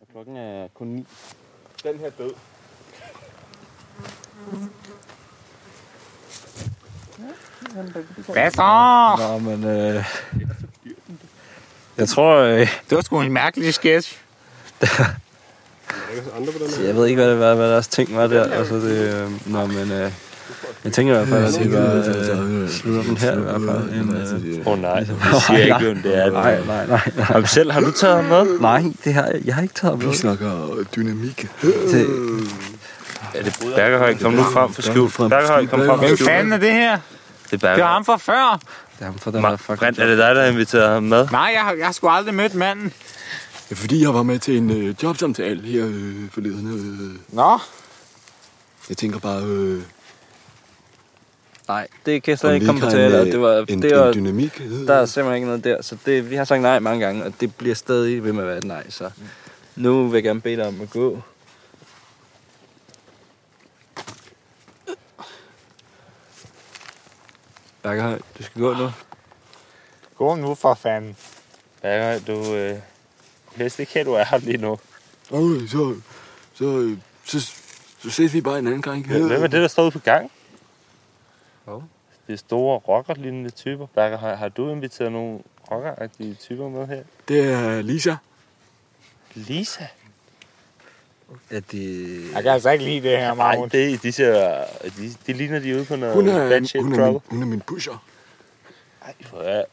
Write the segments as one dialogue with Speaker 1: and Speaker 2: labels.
Speaker 1: Og klokken er kun 9.
Speaker 2: Den her død.
Speaker 3: Hvad så?
Speaker 4: Nå, men... Øh, jeg tror... Øh,
Speaker 3: Det var sgu en mærkelig sketch.
Speaker 2: Er der ikke også andre på den her?
Speaker 4: jeg ved ikke, hvad, det var, hvad deres ting var der. Altså, det, øh, nå, men... Øh, jeg tænker i hvert fald, at det var... Øh, slutter den her i hvert fald. En,
Speaker 5: Altså,
Speaker 4: øh,
Speaker 6: Åh oh, nej, jeg siger ikke, hvem det er.
Speaker 4: nej, nej, nej, nej.
Speaker 6: Ham selv, har du taget ham med?
Speaker 4: Nej, det har jeg, jeg har ikke taget med.
Speaker 5: Vi snakker dynamik. Øh,
Speaker 4: Det,
Speaker 6: Er det Bergerhøj? Kom nu frem for skjul. Bergerhøj, kom frem for
Speaker 3: Hvem
Speaker 6: skjul.
Speaker 3: fanden er det her?
Speaker 6: Det er
Speaker 3: Det var
Speaker 6: Bergerhøj.
Speaker 3: ham fra før.
Speaker 4: det er ham fra den der
Speaker 6: Ma- Brent,
Speaker 4: fucking...
Speaker 6: er det dig, der har inviteret ham med?
Speaker 3: Nej, jeg, har- jeg har sgu aldrig mødt manden.
Speaker 5: Det er fordi, jeg var med til en øh, jobsamtale her øh, forleden. Øh,
Speaker 3: Nå,
Speaker 5: jeg tænker bare... Øh,
Speaker 4: Nej, det kan jeg
Speaker 5: om
Speaker 4: slet ikke
Speaker 5: vi
Speaker 4: komme på
Speaker 5: har
Speaker 4: tale.
Speaker 5: øh,
Speaker 4: og Det var,
Speaker 5: en,
Speaker 4: det var,
Speaker 5: en dynamik. Øh.
Speaker 4: der er simpelthen ikke noget der. Så det, vi har sagt nej mange gange, og det bliver stadig ved med at være et nej. Så nu vil jeg gerne bede dig om at gå. Bakkerhøj, du skal gå nu.
Speaker 3: gå nu for fanden.
Speaker 6: Bergerhøj, du... Øh, helst ikke her, du er her lige nu.
Speaker 5: Okay, så, så, øh, så, så ses vi bare en anden gang.
Speaker 6: Hvem er det, der står ude på gang?
Speaker 4: Hvad?
Speaker 6: Det er store rockerlignende typer. Bergerhøj, har du inviteret nogle rockeragtige typer med her?
Speaker 5: Det er Lisa.
Speaker 6: Lisa?
Speaker 4: Er det...
Speaker 3: Jeg kan altså ikke lide det her,
Speaker 6: Nej,
Speaker 3: Magnus.
Speaker 6: det, de, ser, de, de ligner de er ude på noget
Speaker 5: Hun er,
Speaker 6: bad shit
Speaker 5: hun er,
Speaker 6: trouble.
Speaker 5: min, hun er min pusher.
Speaker 6: Ej, hvor er...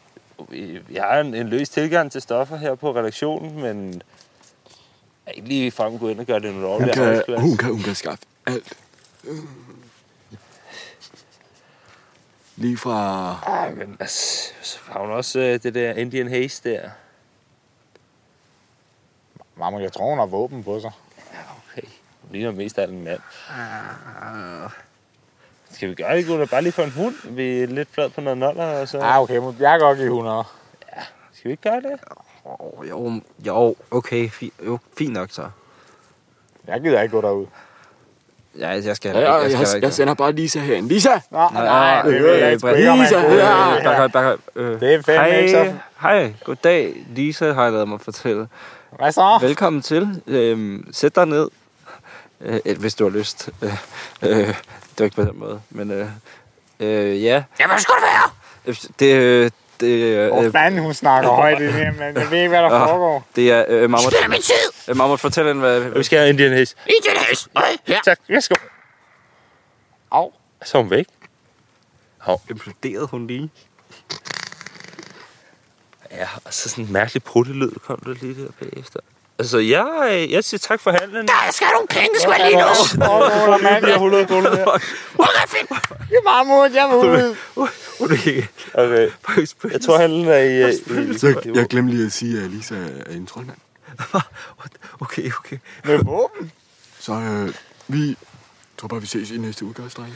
Speaker 6: vi- Vi har en, en løs tilgang til stoffer her på redaktionen, men jeg er ikke lige frem gå ind og gøre det en
Speaker 5: Hun
Speaker 6: rolle.
Speaker 5: kan, hun kan, hun kan skaffe alt. Lige fra...
Speaker 6: Ej, men altså, så har hun også øh, det der Indian Haze der.
Speaker 3: Magnus, jeg tror, hun har våben på sig.
Speaker 6: Okay, hun ligner mest af alt en mand. Ah. Skal vi gøre det, gutter? Bare lige for en hund? Vi er lidt flad på noget noller, og så...
Speaker 3: Ah, okay, men jeg kan godt give 100.
Speaker 6: Skal vi ikke gøre det?
Speaker 4: Oh, jo, jo, okay, fi, jo, fint nok så.
Speaker 3: Jeg gider ikke gå derud.
Speaker 4: Ja, jeg skal
Speaker 5: Ja, jeg, jeg, jeg, jeg sender bare Lisa herhen. Lisa!
Speaker 3: Nå, nej, nej, det altså. vil jeg ikke.
Speaker 4: Brent.
Speaker 3: Det gør man
Speaker 5: Lisa,
Speaker 3: ikke.
Speaker 5: ja.
Speaker 3: Det er-
Speaker 4: Bakkerhøj, Bakkerhøj. Øh,
Speaker 3: Det er fandme ikke så...
Speaker 4: hej, hej, goddag. Lisa har jeg lavet mig fortælle.
Speaker 3: Hvad så?
Speaker 4: Velkommen til. Øhm, sæt dig ned, øh, øh, hvis du har lyst. Øh, øh, det var ikke på den måde, men øh, øh, ja.
Speaker 3: Ja, hvad skulle det være?
Speaker 4: Øh, Det, øh, det, øh,
Speaker 3: Hvor
Speaker 4: øh,
Speaker 3: fanden hun snakker højt i det her, men jeg ved ikke, hvad der
Speaker 4: Åh.
Speaker 3: foregår.
Speaker 4: det er øh, Mammut. Spil min tid! Øh, Mammut, fortæl hende, hvad...
Speaker 6: Vi skal have Indian Haze.
Speaker 3: Indian Haze! Ja.
Speaker 6: Tak, værsgo.
Speaker 3: Au.
Speaker 6: Så er hun væk.
Speaker 4: Imploderede hun lige?
Speaker 6: Ja, og så Altså, sådan en mærkelig pruttelyd kom der lige der bagefter. Altså, jeg, jeg siger tak for handlen. Der
Speaker 3: Jeg skal have nogle penge, skal jeg lige nu.
Speaker 6: er hullet i gulvet her.
Speaker 3: Det er Mammut, jeg vil ud.
Speaker 4: Hun ikke...
Speaker 6: Okay, jeg tror, handlen er i... øh,
Speaker 5: Jeg, jeg glemte lige at sige, at Lisa er en troldmand.
Speaker 4: Okay, okay.
Speaker 3: Med våben?
Speaker 5: Så øh, vi tror bare, vi ses i næste udgave, drenge.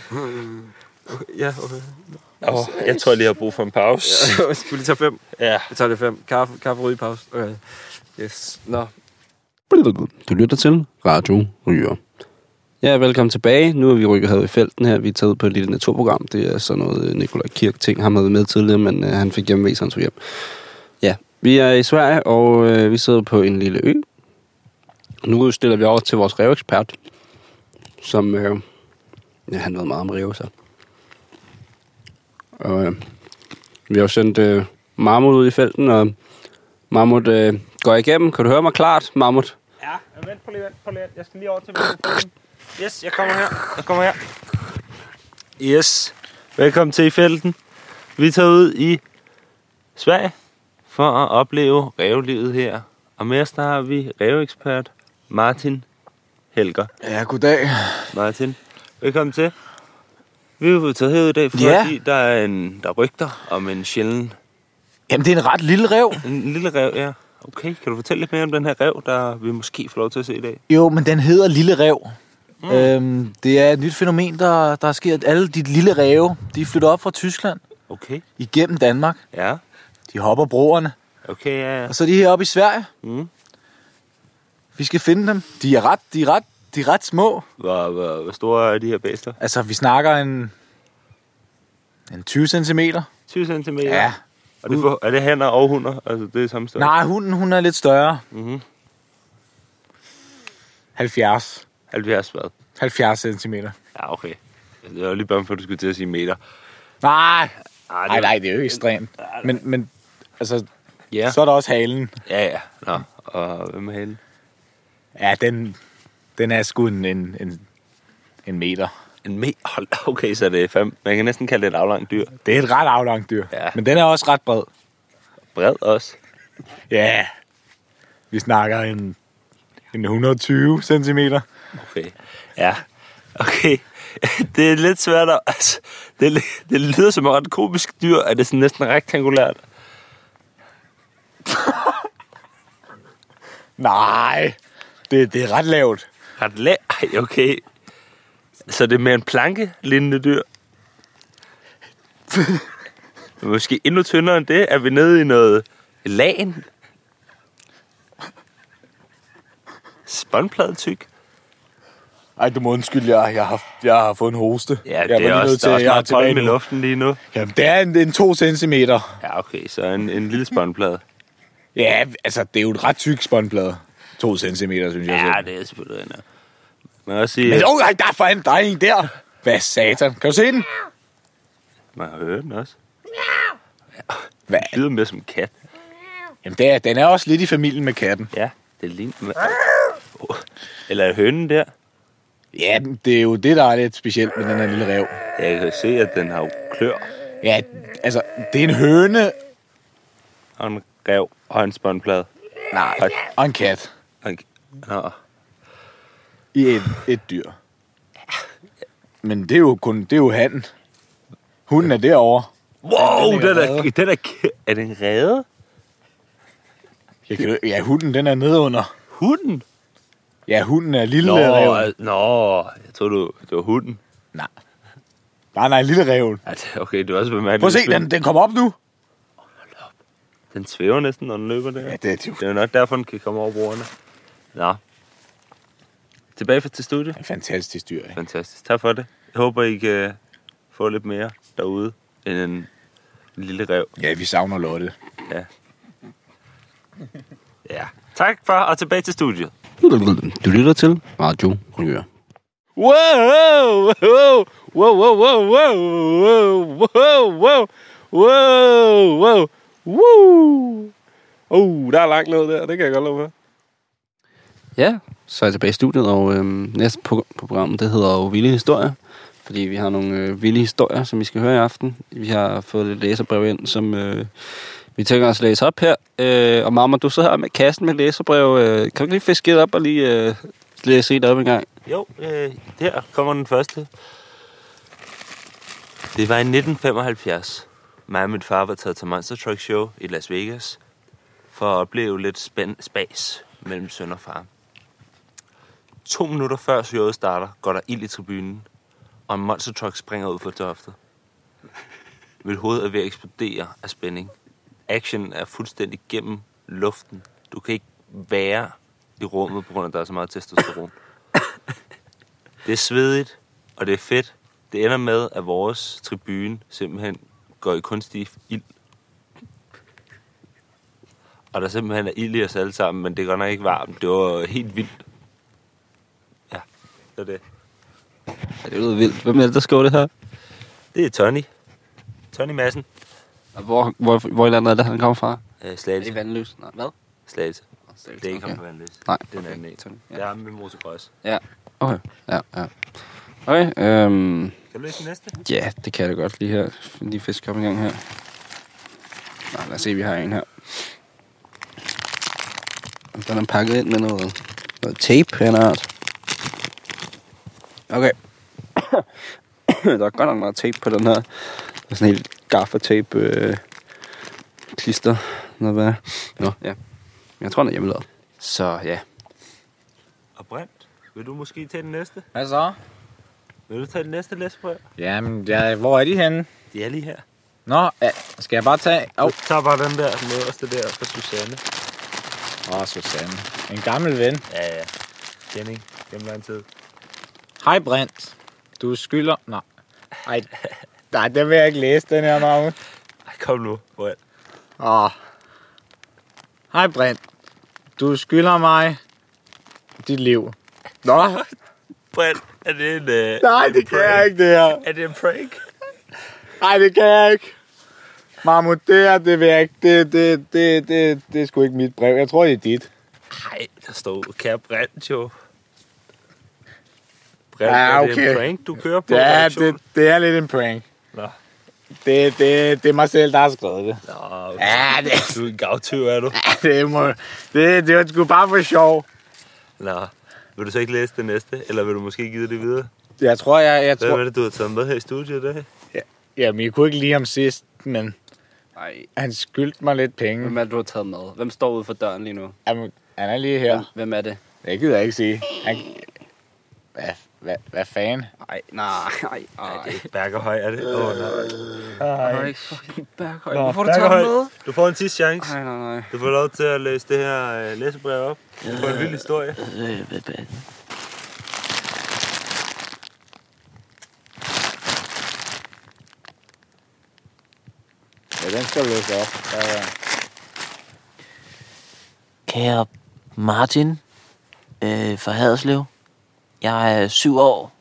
Speaker 4: Ja, okay.
Speaker 6: i- Åh, jeg tror, jeg lige har brug for en pause.
Speaker 4: Jeg skulle lige tage fem.
Speaker 6: Ja.
Speaker 4: Jeg tager det fem. Kaffe, kaffe ryge pause. Okay. Yes. Nå.
Speaker 1: Du lytter til Radio Ryger. Ja, velkommen tilbage. Nu er vi rykket her i felten her. Vi er taget ud på et lille naturprogram. Det er sådan noget øh, Nikolaj Kirk ting. Han havde med tidligere, men øh, han fik hjemmevæs, han tog hjem. Ja, vi er i Sverige, og øh, vi sidder på en lille ø. Nu stiller vi over til vores revekspert, som... Øh, ja, han ved meget om rev, så. Og øh, vi har jo sendt øh, Marmut ud i felten, og Marmut øh, går igennem. Kan du høre mig klart, Marmut?
Speaker 6: Ja, vent på lige, vent på lige. Jeg skal lige over til mikrofonen. Yes, jeg kommer her. Jeg kommer her. Yes. Velkommen til i felten. Vi tager ud i Sverige for at opleve revlivet her. Og med os der har vi reveekspert Martin Helger.
Speaker 2: Ja, goddag.
Speaker 6: Martin, velkommen til. Vi er jo taget herud i dag, fordi
Speaker 2: Ja.
Speaker 6: der er en, der rygter om en sjælden...
Speaker 2: Jamen, det er en ret lille rev.
Speaker 6: En lille rev, ja. Okay, kan du fortælle lidt mere om den her rev, der vi måske får lov til at se i dag?
Speaker 2: Jo, men den hedder Lille Rev. Mm. Øhm, det er et nyt fænomen, der, der sker. Alle de lille ræve, de flytter op fra Tyskland
Speaker 6: Okay,
Speaker 2: igennem Danmark.
Speaker 6: ja.
Speaker 2: De hopper broerne.
Speaker 6: Okay, ja, ja.
Speaker 2: Og så er de heroppe i Sverige.
Speaker 6: Mm.
Speaker 2: Vi skal finde dem. De er ret, de er ret, de er ret små.
Speaker 6: Hvor, hvor, hvor store er de her bæster?
Speaker 2: Altså, vi snakker en, en 20 cm.
Speaker 6: 20 cm?
Speaker 2: Ja.
Speaker 6: Og det, for, er det hanner og hunder? Altså, det er samme størrelse?
Speaker 2: Nej, hunden hun er lidt større.
Speaker 6: Mhm.
Speaker 7: 70,
Speaker 6: 70 hvad?
Speaker 7: 70 cm.
Speaker 6: Ja, okay. Jeg var lige bange for, at du skulle til at sige meter.
Speaker 7: Nej,
Speaker 6: Ej,
Speaker 7: nej, nej, det er jo ikke ekstremt. Men, men altså,
Speaker 6: Ja,
Speaker 7: så er der også halen.
Speaker 6: ja, ja. Nå, og hvem er halen?
Speaker 7: Ja, den, den er sgu en, en, en, en meter.
Speaker 6: En me... Hold, okay, så det er fem. Man kan næsten kalde det et aflangt dyr.
Speaker 7: Det er et ret aflangt dyr.
Speaker 6: Ja.
Speaker 7: Men den er også ret bred.
Speaker 6: Bred også.
Speaker 7: Ja, vi snakker en, en 120 cm.
Speaker 6: Okay. Ja, okay. Det er lidt svært at... Altså, det, ly- det lyder som et ret komisk dyr, at det er sådan næsten rektangulært.
Speaker 7: Nej, det, det er ret lavt.
Speaker 6: Ret læ... Ej, okay. Så det er mere en planke lignende dyr. Men Måske endnu tyndere end det, er vi nede i noget lagen. Spåndpladetyk.
Speaker 7: Ej, du må undskylde, jeg, jeg, har, haft- jeg har fået en hoste.
Speaker 6: Ja,
Speaker 7: jeg
Speaker 6: det er også, der er også
Speaker 7: jeg er
Speaker 6: meget
Speaker 7: tilbage
Speaker 6: pollen i
Speaker 7: nu.
Speaker 6: luften lige nu.
Speaker 7: Jamen, det er en, en 2 cm.
Speaker 6: Ja, okay, så en, en lille spåndplade.
Speaker 7: Ja, altså, det er jo en ret tyk spåndplade. 2 cm, synes jeg.
Speaker 6: Ja,
Speaker 7: selv.
Speaker 6: det er selvfølgelig endnu. Man kan Altså- også sige,
Speaker 7: Men
Speaker 6: at
Speaker 7: åh, oh, der er fanden, der er en der. Hvad satan? Kan du se den?
Speaker 6: man har hørt den også.
Speaker 7: Hvad?
Speaker 6: Det lyder mere som en kat.
Speaker 7: Jamen, det er, den er også lidt i familien med katten.
Speaker 6: Ja, det ligner... Åh, Eller er hønen der?
Speaker 7: Ja, men det er jo det, der er lidt specielt med den her lille rev.
Speaker 6: Jeg kan se, at den har jo klør
Speaker 7: Ja, altså, det er en høne
Speaker 6: og en rev og en spåndplade.
Speaker 7: Nej. Og, og en kat
Speaker 6: Og en- Nå,
Speaker 7: i et, et dyr. Men det er jo kun, det er jo handen. Hunden er derovre.
Speaker 6: Wow, den,
Speaker 7: den er
Speaker 6: er, den er, kæ- er det en ræde?
Speaker 7: Jeg kan, ja, hunden den er nede under.
Speaker 6: Hunden?
Speaker 7: Ja, hunden er lille
Speaker 6: Nå, øh.
Speaker 7: reven.
Speaker 6: nå, jeg tror du, det var hunden.
Speaker 7: Nej. Nej, nej, lille reven.
Speaker 6: Ja, det- Okay, det var også bemærket.
Speaker 7: Prøv at se, den, den kommer op nu.
Speaker 6: Den svæver næsten, når den løber der.
Speaker 7: Ja, det er jo
Speaker 6: Det er jo nok derfor, den kan komme over bordene. Nå. Tilbage fra- til studiet.
Speaker 7: et fantastisk dyr. Ikke?
Speaker 6: Fantastisk. Tak for det. Jeg håber, I kan få lidt mere derude end en lille rev.
Speaker 7: Ja, vi savner Lotte.
Speaker 6: Ja. Tak for, og tilbage til studiet.
Speaker 1: Du lytter til Radio Røger.
Speaker 6: Wow, wow, wow, wow, wow, wow, wow, wow, wow, wow, wow, wow. Uh, der er langt ned der, det kan jeg godt love for.
Speaker 1: Ja, så er jeg tilbage i studiet, og øhm, næste program, på programmet, det hedder jo Vilde Historier. Fordi vi har nogle øh, vilde historier, som vi skal høre i aften. Vi har fået lidt læserbrev ind, som øh, vi tænker os at læse op her. Øh, og mamma, du sidder her med kassen med læserbrev. Øh, kan du ikke lige fiske det op og lige øh, læse et op en gang?
Speaker 6: Jo, øh, der kommer den første. Det var i 1975. Mig og min far var taget til Monster Truck Show i Las Vegas for at opleve lidt spænd spas mellem søn og far. To minutter før showet starter, går der ild i tribunen, og en Monster Truck springer ud for toftet. Mit hoved er ved at eksplodere af spænding. Action er fuldstændig gennem luften. Du kan ikke være i rummet, på grund af, at der er så meget testosteron. Det er svedigt, og det er fedt. Det ender med, at vores tribune simpelthen går i kunstig ild. Og der simpelthen er ild i os alle sammen, men det er godt nok ikke varmt. Det var helt vildt. Ja, det er det.
Speaker 1: Ja, det lyder vildt. Hvem er det, der skriver det her?
Speaker 6: Det er Tony. Tony Madsen.
Speaker 1: Og hvor, hvor, hvor i landet er det, han kommer fra?
Speaker 6: Øh,
Speaker 1: Er det
Speaker 6: Slagelse.
Speaker 1: vandløs? Nej, hvad?
Speaker 6: Slagelse.
Speaker 1: Slagelse,
Speaker 6: Det er ikke ham
Speaker 1: okay.
Speaker 6: på vandløs.
Speaker 1: Nej,
Speaker 6: Det er en
Speaker 1: okay,
Speaker 6: anden en.
Speaker 1: Tony, ja.
Speaker 6: Det er ham med motocross.
Speaker 1: Ja, okay. Ja, ja. Okay, øhm,
Speaker 6: Kan du læse den næste?
Speaker 1: Ja, det kan jeg da godt lige her. Lige fiske op en gang her. Nå, lad os se, vi har en her. Den er pakket ind med noget, noget tape af en art. Okay. der er godt nok meget tape på den her. Der er sådan en helt gaffatape øh, klister. Noget hvad? Nå, ja. Men Jeg tror, den er hjemmelavet. Så ja.
Speaker 6: Og Brent, vil du måske tage den næste?
Speaker 7: Hvad så?
Speaker 6: Vil du tage den næste læsebrev?
Speaker 7: Jamen, ja, hvor er de henne?
Speaker 6: De er lige her.
Speaker 7: Nå, ja, skal jeg bare tage... Åh,
Speaker 6: Og
Speaker 7: oh.
Speaker 6: så tager bare den der nederste der fra Susanne.
Speaker 7: oh, Susanne. En gammel ven.
Speaker 6: Ja, ja. Kenning. Gennem lang tid.
Speaker 7: Hej, Brint. Du skylder... Nej. Ej, nej, den vil jeg ikke læse, den her navn.
Speaker 6: Ej, kom nu. Brød.
Speaker 7: Åh. Hej, Brint. Du skylder mig dit liv. Nå,
Speaker 6: Brian, er det en... Øh,
Speaker 7: nej, det kan jeg ikke, det her.
Speaker 6: Er det en prank?
Speaker 7: Nej, det kan jeg ikke. Marmut, det her, det vil jeg ikke. Det, det, det, det, det er sgu ikke mit brev. Jeg tror, det er dit.
Speaker 6: Nej, der står kære Brent jo. Brent,
Speaker 7: Ja,
Speaker 6: er det
Speaker 7: okay.
Speaker 6: en prank, du kører på?
Speaker 7: Ja,
Speaker 6: redaktionen?
Speaker 7: det, det er lidt en prank.
Speaker 6: Nå.
Speaker 7: Det, det, det er mig selv, der har skrevet det.
Speaker 6: Nå, okay.
Speaker 7: Ja, det,
Speaker 6: du er en gavtyv, er du?
Speaker 7: det, må, det, det var sgu bare for sjov.
Speaker 6: Nå, vil du så ikke læse det næste? Eller vil du måske give det videre?
Speaker 7: Jeg tror, jeg, jeg
Speaker 6: Hvad
Speaker 7: tror...
Speaker 6: er det, du har taget med her i studiet i dag?
Speaker 7: Jamen, jeg kunne ikke lide ham sidst, men
Speaker 1: Nej.
Speaker 7: han skyldte mig lidt penge.
Speaker 1: Hvem er det, du har taget med? Hvem står ude for døren lige nu?
Speaker 7: Jamen, han er lige
Speaker 1: Hvem,
Speaker 7: her.
Speaker 1: hvem er det?
Speaker 7: Det gider jeg ikke sige. Han... Hvad, hvad, hvad fanden?
Speaker 1: Nej, nej, nej, nej.
Speaker 6: Bergerhøj er det. Åh, oh, nej.
Speaker 1: Det er ikke fucking Berghøj. Hvorfor har du taget
Speaker 6: Bergerhøj,
Speaker 1: ham med?
Speaker 6: du får en sidste chance.
Speaker 1: Nej, nej, nej.
Speaker 6: Du får lov til at læse det her øh, læsebrev op. Du får en vild historie.
Speaker 7: Ja, den skal vi læse op. Ja, ja.
Speaker 8: Kære Martin øh, fra Haderslev. Jeg er syv år.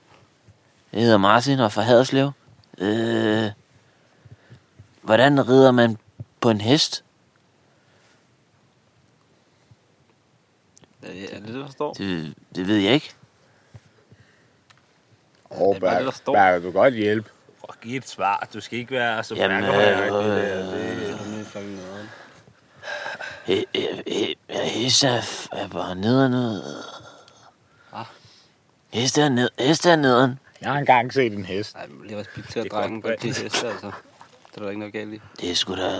Speaker 8: Jeg hedder Martin og er fra Haderslev. Øh, hvordan rider man på en hest?
Speaker 1: Er det er det, der står?
Speaker 8: Det, det ved jeg ikke.
Speaker 7: Åh,
Speaker 1: det, der
Speaker 7: Berg,
Speaker 1: står?
Speaker 7: Berg, du kan godt hjælpe.
Speaker 6: Fuck, giv et svar. Du skal ikke være så
Speaker 8: Jamen,
Speaker 6: Bergerhøj-agtig
Speaker 8: øh,
Speaker 6: der. Det-
Speaker 1: Det er fucking noget.
Speaker 8: He- he- he- Hest er, f- er bare nederen.
Speaker 1: Ah.
Speaker 8: Hest er, ned, hest er nederen.
Speaker 7: Jeg har engang set en hest.
Speaker 1: Ej, men lige respektere
Speaker 6: Det er godt,
Speaker 1: drengen på
Speaker 6: Brian.
Speaker 1: det heste, altså. Det er der ikke noget galt i.
Speaker 8: Det er sgu da...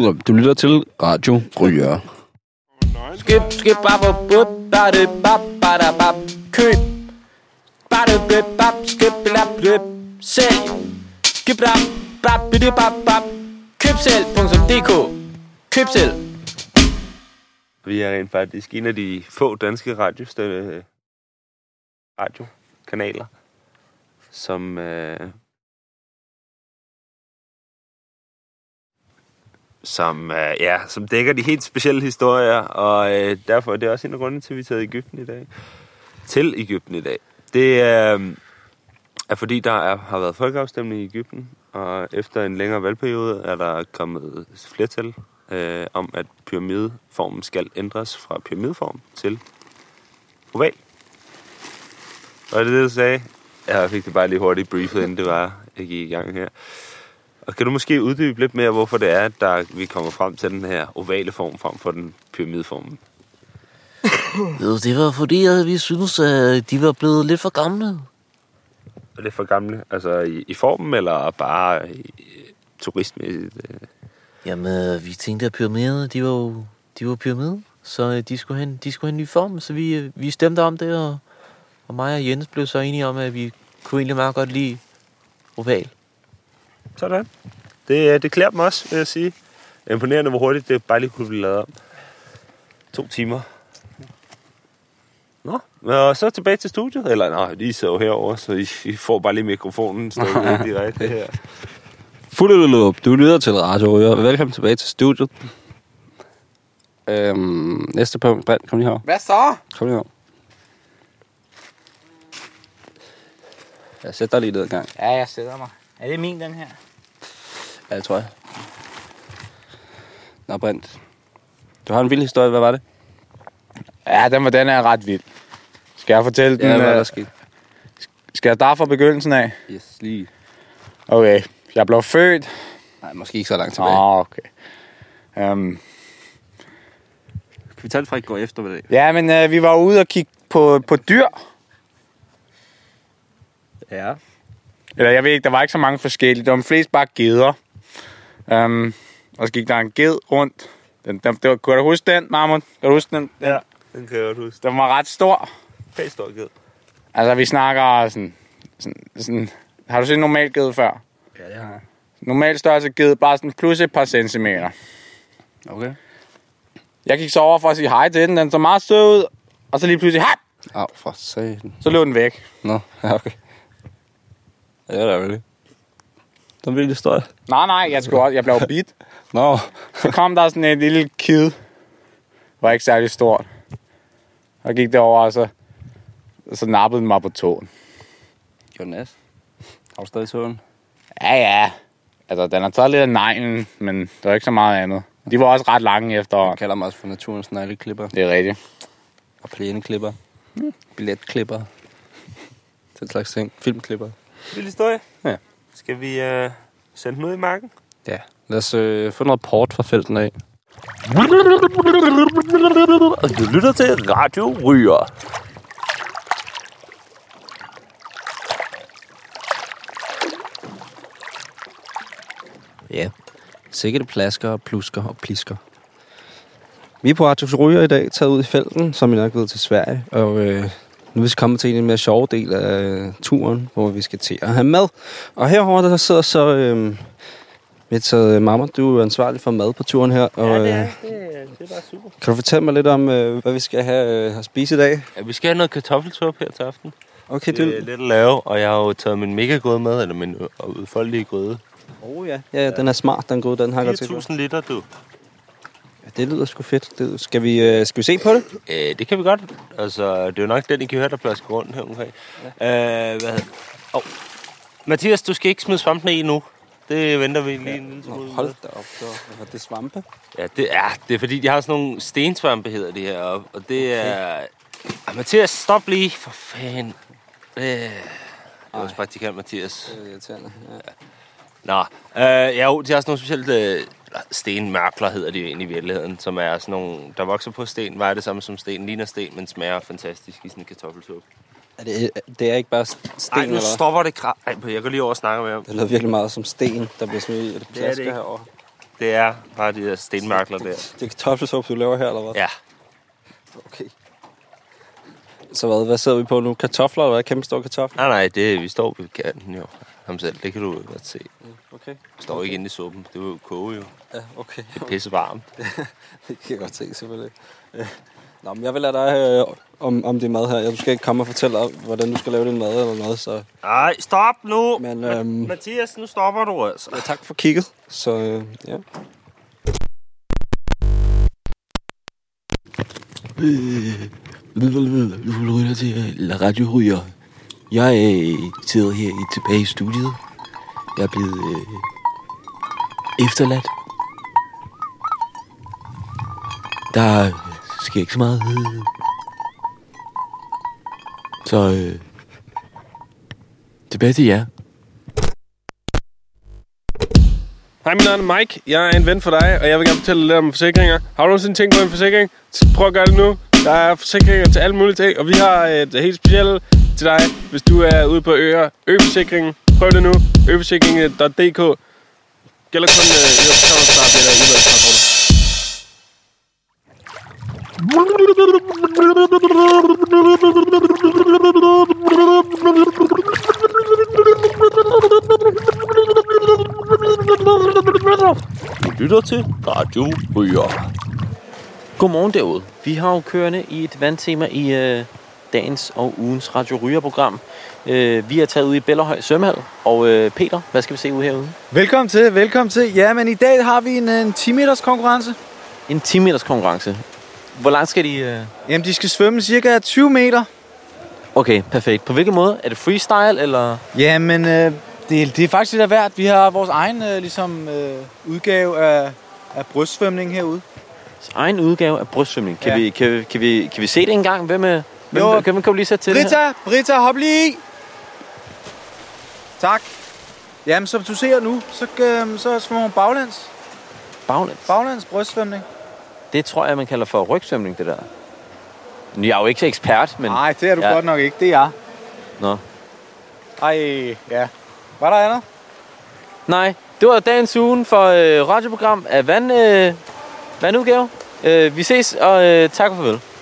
Speaker 8: Øh,
Speaker 1: Du lytter til Radio Ryger.
Speaker 8: Skip, skip, bap, bap, bap, bap, bap, bap, bap, bap, køb. Bap, bap, bap, skip, bap, bap, sælg. Skip, bap, bap, bap, bap, bap, køb selv.dk. Køb selv.
Speaker 6: Vi er rent faktisk en af de få danske radiostø- radiokanaler, som, øh, som, øh, ja, som dækker de helt specielle historier, og øh, derfor er det også en af grunden til, at vi er taget i Ægypten i dag. Til Ægypten i dag. Det øh, er fordi, der er, har været folkeafstemning i Ægypten, og efter en længere valgperiode er der kommet flertal øh, om, at pyramideformen skal ændres fra pyramideform til oval. Var det det, du sagde? Jeg fik det bare lige hurtigt briefet, inden det var, jeg gik i gang her. Og kan du måske uddybe lidt mere, hvorfor det er, at der, vi kommer frem til den her ovale form frem for den pyramideform?
Speaker 8: Jo, det var fordi, at vi synes, at de var blevet lidt for gamle.
Speaker 6: Er det for gamle? Altså i, i formen, eller bare i, i, turistmæssigt? øh?
Speaker 8: Jamen, øh, vi tænkte, at pyramiderne, de var jo de var pyramide, så øh, de skulle have, en- de skulle have en ny form, så vi, øh, vi stemte om det, og, og mig og Jens blev så enige om, at vi kunne egentlig meget godt lide oval.
Speaker 6: Sådan. Det, øh, det klæder dem også, vil jeg sige. Imponerende, hvor hurtigt det bare lige kunne blive lavet om. To timer. Nå, og så tilbage til studiet. Eller nej, I sidder jo herovre, så I, I får bare lige mikrofonen stukket ind direkte her.
Speaker 1: Fuldeløb, du lytter til Radio Ryger. Velkommen tilbage til studiet. Øhm, næste punkt, Brent, kom lige herover.
Speaker 3: Hvad så?
Speaker 1: Kom lige herover. Jeg sætter dig lige ned en gang.
Speaker 3: Ja, jeg sidder mig. Er det min, den her?
Speaker 1: Ja, det tror jeg. Nå, Brent. Du har en vild historie, hvad var det?
Speaker 7: Ja, den, var- den er ret vild. Skal jeg fortælle den?
Speaker 1: Ja, hvad er
Speaker 7: øh,
Speaker 1: der sket?
Speaker 7: skal jeg starte fra begyndelsen af?
Speaker 1: Yes, lige.
Speaker 7: Okay. Jeg blev født.
Speaker 1: Nej, måske ikke så langt tilbage.
Speaker 7: Åh, okay. Um,
Speaker 1: Kan vi tage det fra i går eftermiddag?
Speaker 7: ja, men øh, vi var ude og kigge på, på dyr.
Speaker 1: Ja.
Speaker 7: Eller jeg ved ikke, der var ikke så mange forskellige. Der var flest bare geder. Um, og så gik der en ged rundt. Den, den, det var, kunne du huske den, Marmon? Kan du huske den? Ja.
Speaker 6: Den kan jeg godt huske.
Speaker 7: Den var ret stor.
Speaker 6: Pæst stor ged.
Speaker 7: Altså, vi snakker sådan... sådan, sådan har du set en normal ged før?
Speaker 1: Ja, det har jeg.
Speaker 7: Normal størrelse ged, bare sådan plus et par centimeter.
Speaker 1: Okay.
Speaker 7: Jeg gik så over for at sige hej til den. Den så meget sød ud. Og så lige pludselig, hej!
Speaker 1: Au, for satan.
Speaker 7: Så løb den væk.
Speaker 1: Nå, ja, okay. Ja, det er vel Den vilde historie.
Speaker 7: Nej, nej, jeg, skulle også, jeg blev bit.
Speaker 1: Nå,
Speaker 7: Så kom der sådan en lille kid. Var ikke særlig stort. Og gik derover og så, så nappede den mig på tåen.
Speaker 4: Gjorde den as? Har du stadig tåen?
Speaker 7: Ja, ja. Altså, den har taget lidt af neglen, men det var ikke så meget andet. De var også ret lange
Speaker 4: Man
Speaker 7: efterhånden.
Speaker 4: kalder mig også for naturens negleklipper
Speaker 7: Det er rigtigt.
Speaker 4: og plæneklipper. Billetklipper. Den slags ting. Filmklipper.
Speaker 6: Lille historie.
Speaker 4: Ja.
Speaker 6: Skal vi øh, sende den ud i marken?
Speaker 4: Ja. Lad os øh, få noget port fra felten af.
Speaker 6: Og du lytter til Radio Ryger.
Speaker 1: Ja. Sikkert det plasker og plusker og plisker. Vi er på Artus Ryger i dag, taget ud i felten, som I nok ved til Sverige. Og øh, nu er vi så kommet til en af de mere sjove del af øh, turen, hvor vi skal til at have mad. Og herover der sidder så... Øh, vi har taget øh, mamma, du er jo ansvarlig for mad på turen her. Og, ja, det er, det, det er bare super. Kan du fortælle mig lidt om, øh, hvad vi skal have øh, at spise i dag?
Speaker 6: Ja, vi skal have noget kartoffelsuppe her til aften.
Speaker 1: Okay,
Speaker 6: Det er
Speaker 1: du...
Speaker 6: lidt at lave, og jeg har jo taget min mega grøde med, eller min øh, udfoldelige grøde.
Speaker 1: Oh, ja. ja, den er smart, den gode, den har jeg godt set.
Speaker 6: 4.000 liter, du.
Speaker 1: Ja, det lyder sgu fedt. Det, lyder- skal, vi, øh, skal vi se på det?
Speaker 6: Øh, det kan vi godt. Altså, det er jo nok den, I kan høre, der plasker rundt her omkring. Ja. Øh, hvad hedder oh. Mathias, du skal ikke smide svampene i nu. Det venter vi lige en lille smule.
Speaker 1: Nå,
Speaker 6: med.
Speaker 1: hold da op, så var det svampe.
Speaker 6: Ja, det er, det er fordi, de har sådan nogle stensvampe, hedder de heroppe. Og det okay. er... Ah, Mathias, stop lige, for fanden. Øh, det er vores praktikant, Mathias.
Speaker 1: Det er irriterende. Ja.
Speaker 6: Nå, øh, ja, jo, de har sådan nogle specielle øh, stenmørkler, hedder de jo egentlig i virkeligheden, som er sådan nogle, der vokser på sten, vejer det samme som sten, ligner sten, men smager fantastisk i sådan en kartoffelsuppe.
Speaker 1: Er det, det er ikke bare sten,
Speaker 6: Ej,
Speaker 1: eller
Speaker 6: nu
Speaker 1: hvad?
Speaker 6: stopper det krav. Ej, jeg går lige over og snakker med ham.
Speaker 1: Det lyder virkelig meget som sten, der bliver smidt i det
Speaker 6: det
Speaker 1: plasker
Speaker 6: ikke.
Speaker 1: herovre.
Speaker 6: Det er bare de der stenmørkler der.
Speaker 1: Det er kartoffelsuppe, du laver her, eller hvad?
Speaker 6: Ja,
Speaker 1: Okay. Så hvad, hvad sidder vi på nu? Kartofler, eller hvad? Kæmpe store kartofler?
Speaker 6: nej, nej, det, vi står ved kanten jo. Ham selv, det kan du godt se.
Speaker 1: Okay.
Speaker 6: Vi står ikke inde i suppen, det var jo koge jo.
Speaker 1: Ja, okay.
Speaker 6: Det er pisse varmt.
Speaker 1: Det kan jeg godt se, selvfølgelig. Øh, Nå, men jeg vil lade dig øh, om, om din mad her. Ja, Du skal ikke komme og fortælle dig, hvordan du skal lave din mad eller noget, så...
Speaker 6: Nej, stop nu!
Speaker 1: Men, øhm,
Speaker 6: Mathias, nu stopper du altså.
Speaker 1: Ja, tak for kigget. Så øh, ja.
Speaker 5: Du lytter til La Radio Ryger. Jeg øh, sidder her i- tilbage i studiet. Jeg er blevet øh, efterladt. Der sker ikke så meget. øh. Så øh, tilbage til jer.
Speaker 9: Hej, mit navn er Mike. Jeg er en ven for dig, og jeg vil gerne fortælle dig lidt om forsikringer. Har du nogensinde tænkt på en forsikring? Så Prøv at gøre det nu. Der er forsikringer til alle mulige ting, og vi har et helt specielt til dig, hvis du er ude på øer. Øforsikringen. Prøv det nu. Øforsikringen.dk Gælder kun øh, i København, eller udvalgstransporter.
Speaker 6: lytter til Radio Ryger.
Speaker 8: Godmorgen derude. Vi har jo kørende i et vandtema i øh, dagens og ugens Radio Ryger-program. Øh, vi er taget ud i Bellerhøj Svømmehal. Og øh, Peter, hvad skal vi se ud herude?
Speaker 2: Velkommen til, velkommen til. Ja, men i dag har vi en, en 10 meters konkurrence.
Speaker 8: En 10 meters konkurrence. Hvor langt skal de... Øh...
Speaker 2: Jamen, de skal svømme cirka 20 meter.
Speaker 8: Okay, perfekt. På hvilken måde? Er det freestyle, eller...
Speaker 2: Jamen, øh, det, det er faktisk lidt af hvert. Vi har vores egen øh, ligesom, øh, udgave af, af brystsvømning herude.
Speaker 8: Egen udgave af brystsvømning. Kan,
Speaker 2: Ja.
Speaker 8: ja. vi, kan, vi- Øh, kan, vi, kan vi se det engang? Hvem, øh, hvem,
Speaker 2: Jo.
Speaker 8: hvem kan, kan du lige sætte til det her?
Speaker 2: Britta, Britta, hop lige i! Tak. Jamen, som du ser nu, så, øh, så svømmer hun baglæns.
Speaker 8: Baglæns.
Speaker 2: Baglæns brystsvømning.
Speaker 8: Det tror jeg, man kalder for rygsvømning, det der. Nu, Jeg er jo ikke ekspert, men...
Speaker 2: Nej, det er du
Speaker 8: Ja.
Speaker 2: ja. godt nok ikke. Det er jeg.
Speaker 8: Nå.
Speaker 2: Ej, ja. Var der andet?
Speaker 8: Nej, det var dagens ugen for øh, radioprogram af vand, øh, vandudgave. Øh, vi ses, og øh, tak og farvel.